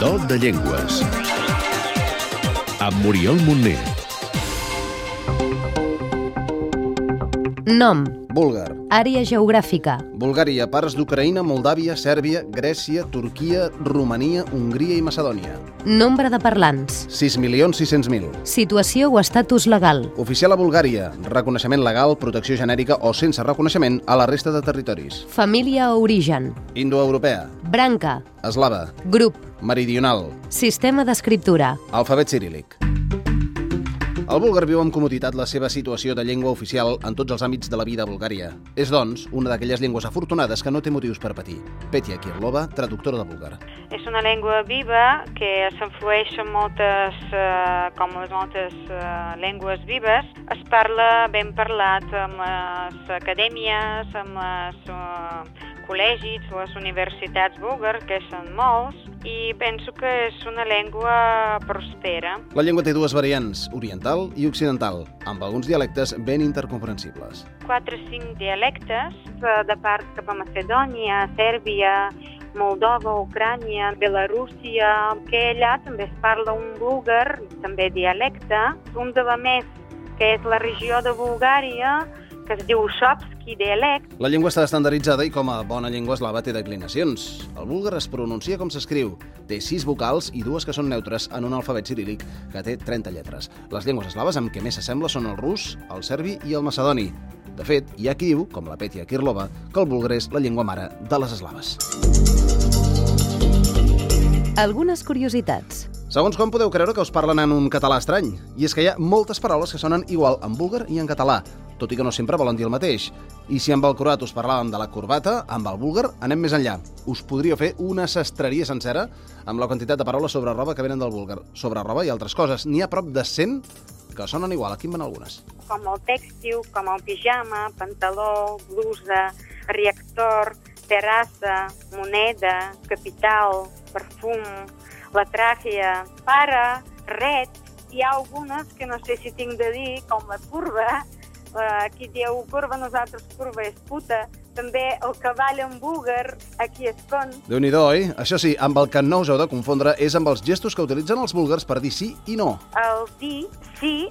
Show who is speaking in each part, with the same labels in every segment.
Speaker 1: Condol de Llengües. Amb Muriel Montner.
Speaker 2: Nom,
Speaker 3: Búlgar.
Speaker 2: àrea geogràfica,
Speaker 3: Bulgària, parts d'Ucraïna, Moldàvia, Sèrbia, Grècia, Turquia, Romania, Hongria i Macedònia.
Speaker 2: nombre de parlants,
Speaker 3: 6.600.000.
Speaker 2: situació o estatus legal,
Speaker 3: Oficial a Bulgària, reconeixement legal, protecció genèrica o sense reconeixement a la resta de territoris.
Speaker 2: família o origen,
Speaker 3: Indoeuropea,
Speaker 2: branca,
Speaker 3: eslava,
Speaker 2: grup,
Speaker 3: meridional,
Speaker 2: sistema d'escriptura,
Speaker 3: alfabet cirílic. El búlgar viu amb comoditat la seva situació de llengua oficial en tots els àmbits de la vida a Bulgària. És, doncs, una d'aquelles llengües afortunades que no té motius per patir. Petia Kirlova, traductora de búlgar.
Speaker 4: És una llengua viva que s'influeix en moltes, eh, com les moltes eh, llengües vives. Es parla ben parlat amb les acadèmies, amb les eh, col·legis, les universitats búlgar, que són molts, i penso que és una llengua prospera.
Speaker 3: La llengua té dues variants, oriental i occidental, amb alguns dialectes ben intercomprensibles.
Speaker 4: 4-5 dialectes eh, de part cap a Macedònia, Sèrbia, Moldova, Ucrània, Belarússia, que allà també es parla un búlgar, també dialecte, un de la més, que és la regió de Bulgària, que es diu Shopski dialect,
Speaker 3: La llengua està estandarditzada i com a bona llengua eslava té declinacions. El búlgar es pronuncia com s'escriu. Té sis vocals i dues que són neutres en un alfabet cirílic que té 30 lletres. Les llengües eslaves amb què més s'assembla són el rus, el serbi i el macedoni. De fet, hi ha qui diu, com la Petia Kirlova, que el búlgar és la llengua mare de les eslaves.
Speaker 2: algunes curiositats.
Speaker 3: Segons com podeu creure que us parlen en un català estrany, i és que hi ha moltes paraules que sonen igual en búlgar i en català, tot i que no sempre volen dir el mateix. I si amb el croat us parlàvem de la corbata, amb el búlgar anem més enllà. Us podria fer una sastreria sencera amb la quantitat de paraules sobre roba que venen del búlgar. Sobre roba i altres coses. N'hi ha prop de 100 que sonen igual. Aquí en van algunes.
Speaker 4: com el tèxtil, com el pijama, pantaló, blusa, reactor, terrassa, moneda, capital, perfum, la tràquia, para, red. Hi ha algunes que no sé si tinc de dir, com la curva, eh, qui diu curva, nosaltres curva és puta, també el cavall en búlgar, aquí és con,
Speaker 3: déu nhi oi? Això sí, amb el que no us heu de confondre és amb els gestos que utilitzen els búlgars per dir sí i no.
Speaker 4: el dir sí,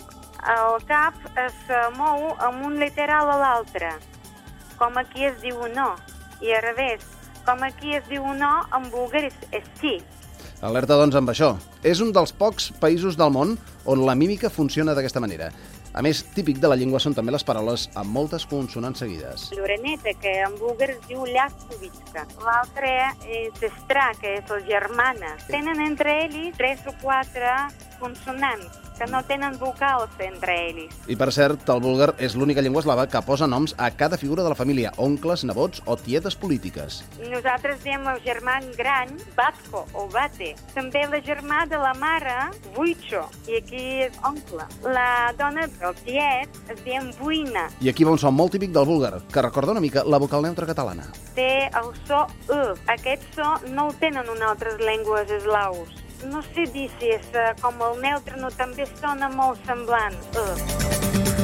Speaker 4: el cap es eh, mou amb un literal a l'altre, com aquí es diu no, i al revés, com aquí es diu no, en búlgar és, és sí.
Speaker 3: Alerta, doncs, amb això. És un dels pocs països del món on la mímica funciona d'aquesta manera. A més, típic de la llengua són també les paraules amb moltes consonants seguides.
Speaker 4: L'oreneta, que en búlgar es diu llastovitska. L'altre és sestra, que és la germana. Tenen entre ells tres o quatre consonants, que no tenen vocals entre ells.
Speaker 3: I per cert, el búlgar és l'única llengua eslava que posa noms a cada figura de la família, oncles, nebots o tietes polítiques.
Speaker 4: Nosaltres diem el germà gran Batko o Bate. També la germà de la mare, Vuitxo, i aquí és oncle. La dona del tiet es diem Buina,
Speaker 3: I aquí va un son molt típic del búlgar, que recorda una mica la vocal neutra catalana.
Speaker 4: té el so E. Aquest so no el tenen en altres llengües eslaus. No sé dir si és eh, com el neutre, no també sona molt semblant. E.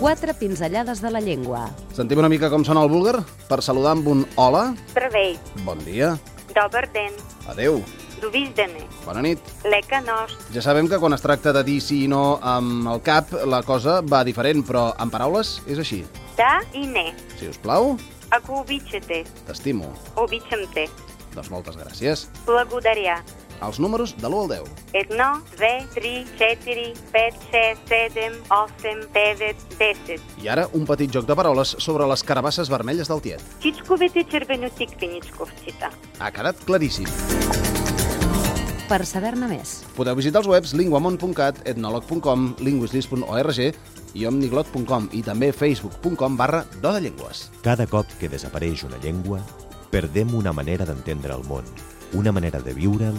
Speaker 2: Quatre pinzellades de la llengua.
Speaker 3: Sentim una mica com sona el búlgar? Per saludar amb un hola,
Speaker 4: Servei,
Speaker 3: bon dia,
Speaker 4: dobar den,
Speaker 3: adeu,
Speaker 4: duvizdene,
Speaker 3: bona nit.
Speaker 4: leka nost,
Speaker 3: Ja sabem que quan es tracta de dir sí i no amb el cap, la cosa va diferent, però en paraules és així.
Speaker 4: da i ne.
Speaker 3: Si us plau,
Speaker 4: Ако обичате,
Speaker 3: t'estimo.
Speaker 4: обичам те,
Speaker 3: Doncs moltes gràcies.
Speaker 4: благодаря.
Speaker 3: Els números de l'1 al 10.
Speaker 4: Едно, две, три, четири, пет, шест, седем, осем, девет, десет.
Speaker 3: I ara un petit joc de paraules sobre les carabasses vermelles del tiet.
Speaker 4: Чичковете червенотиквеничковците.
Speaker 3: Ha quedat claríssim.
Speaker 2: Per saber-ne més,
Speaker 3: Podeu visitar els webs linguamont.cat, etnolog.com, linguislis.org i omniglot.com i també facebook.com barra do de llengües.
Speaker 5: Cada cop que desapareix una llengua, perdem una manera d'entendre el món, una manera de viure'l